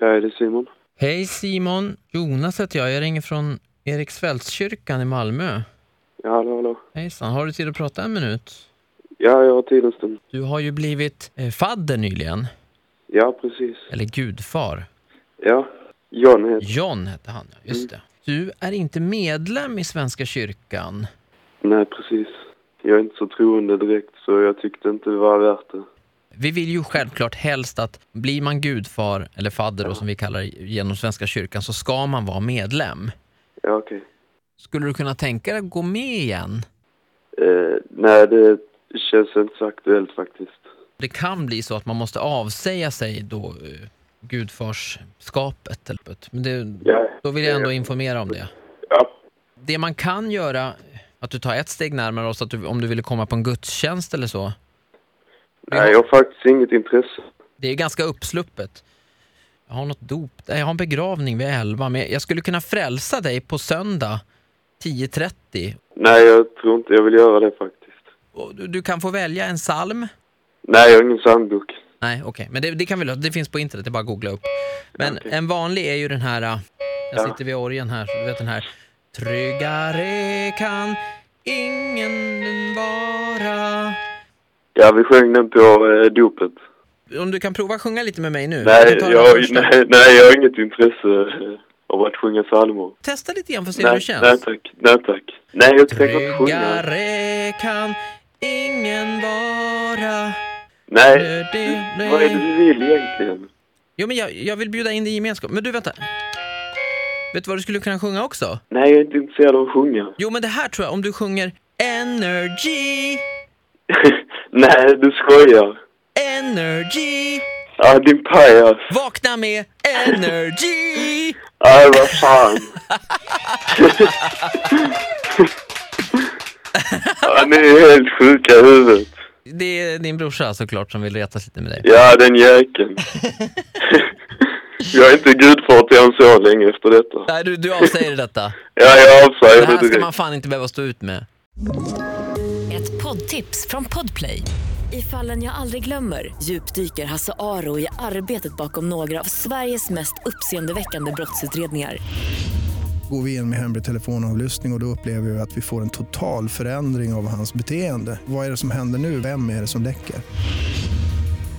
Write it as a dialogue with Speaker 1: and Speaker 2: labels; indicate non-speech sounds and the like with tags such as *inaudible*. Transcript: Speaker 1: Hej, det är Simon.
Speaker 2: Hej Simon, Jonas heter jag. Jag ringer från Eriksfältskyrkan i Malmö.
Speaker 1: Ja, hallå, hallå.
Speaker 2: Hejsan, har du tid att prata en minut?
Speaker 1: Ja, jag har tid en stund.
Speaker 2: Du har ju blivit eh, fadder nyligen,
Speaker 1: Ja, precis.
Speaker 2: eller gudfar.
Speaker 1: Ja. John heter...
Speaker 2: John hette han, ja, just det. Du är inte medlem i Svenska kyrkan.
Speaker 1: Nej, precis. Jag är inte så troende direkt, så jag tyckte inte det var värt det.
Speaker 2: Vi vill ju självklart helst att blir man gudfar, eller fadder då, som vi kallar det, genom Svenska kyrkan, så ska man vara medlem.
Speaker 1: Ja, okej.
Speaker 2: Skulle du kunna tänka dig att gå med igen?
Speaker 1: Eh, nej, det känns inte så aktuellt faktiskt.
Speaker 2: Det kan bli så att man måste avsäga sig då eh, gudfarsskapet. eller- Men det,
Speaker 1: Ja.
Speaker 2: då vill jag ändå informera om det.
Speaker 1: Ja.
Speaker 2: Det man kan göra, att du tar ett steg närmare oss, att du, om du ville komma på en gudstjänst eller så.
Speaker 1: Nej, jag har faktiskt inget intresse.
Speaker 2: Det är ganska uppsluppet. Jag har något dop, nej, jag har en begravning vid 11, men jag skulle kunna frälsa dig på söndag 10.30.
Speaker 1: Nej, jag tror inte jag vill göra det faktiskt.
Speaker 2: Och Du, du kan få välja en psalm.
Speaker 1: Nej, jag har ingen psalmbok.
Speaker 2: Nej, okej. Men det, det kan vi lösa. Det finns på internet. Det är bara att googla upp. Men en vanlig är ju den här... äh, Jag
Speaker 1: Ja.
Speaker 2: sitter vid orgen här, så du vet den här. Tryggare kan ingen vara.
Speaker 1: Ja, vi sjöng den på eh, dopet.
Speaker 2: Om du kan prova att sjunga lite med mig nu.
Speaker 1: Nej,
Speaker 2: kan ta den här
Speaker 1: jag,
Speaker 2: första.
Speaker 1: *laughs* nej, nej, jag har inget intresse eh, av att sjunga psalmer.
Speaker 2: Testa lite igen för att se hur
Speaker 1: Nej,
Speaker 2: det känns.
Speaker 1: nej tack. Nej tack. Nej, jag tänker inte sjunga.
Speaker 2: Tryggare kan ingen vara.
Speaker 1: Nej,
Speaker 2: Det- det-
Speaker 1: vad är det du vill egentligen?
Speaker 2: Jo, men jag, jag vill bjuda in dig i gemenskap. Men du, vänta. Vet du vad du skulle kunna sjunga också?
Speaker 1: Nej, jag är inte intresserad av att sjunga. *laughs*
Speaker 2: Jo, men det här tror jag, om du sjunger Energy,
Speaker 1: Nej, du skojar.
Speaker 2: energy,
Speaker 1: Ja, din pajas.
Speaker 2: vakna med energy!
Speaker 1: Ja, vad fan. *laughs* ja, ni är helt sjuka i huvudet.
Speaker 2: Det är din brorsa såklart som vill retas lite med dig.
Speaker 1: Ja, den jäkeln. *laughs* jag är inte gudfar till honom så länge efter detta.
Speaker 2: Nej, du, du avsäger detta.
Speaker 1: Ja, jag
Speaker 2: Det
Speaker 1: avsäger
Speaker 2: här
Speaker 1: det
Speaker 2: ska
Speaker 1: direkt.
Speaker 2: man fan inte behöva stå ut med.
Speaker 3: Ett poddtips från Podplay. I fallen jag aldrig glömmer djupdyker Hasse Aro i arbetet bakom några av Sveriges mest uppseendeväckande brottsutredningar.
Speaker 4: Går vi in med hemlig telefonavlyssning och, och då upplever vi att vi får en total förändring av hans beteende. Vad är det som händer nu? Vem är det som läcker?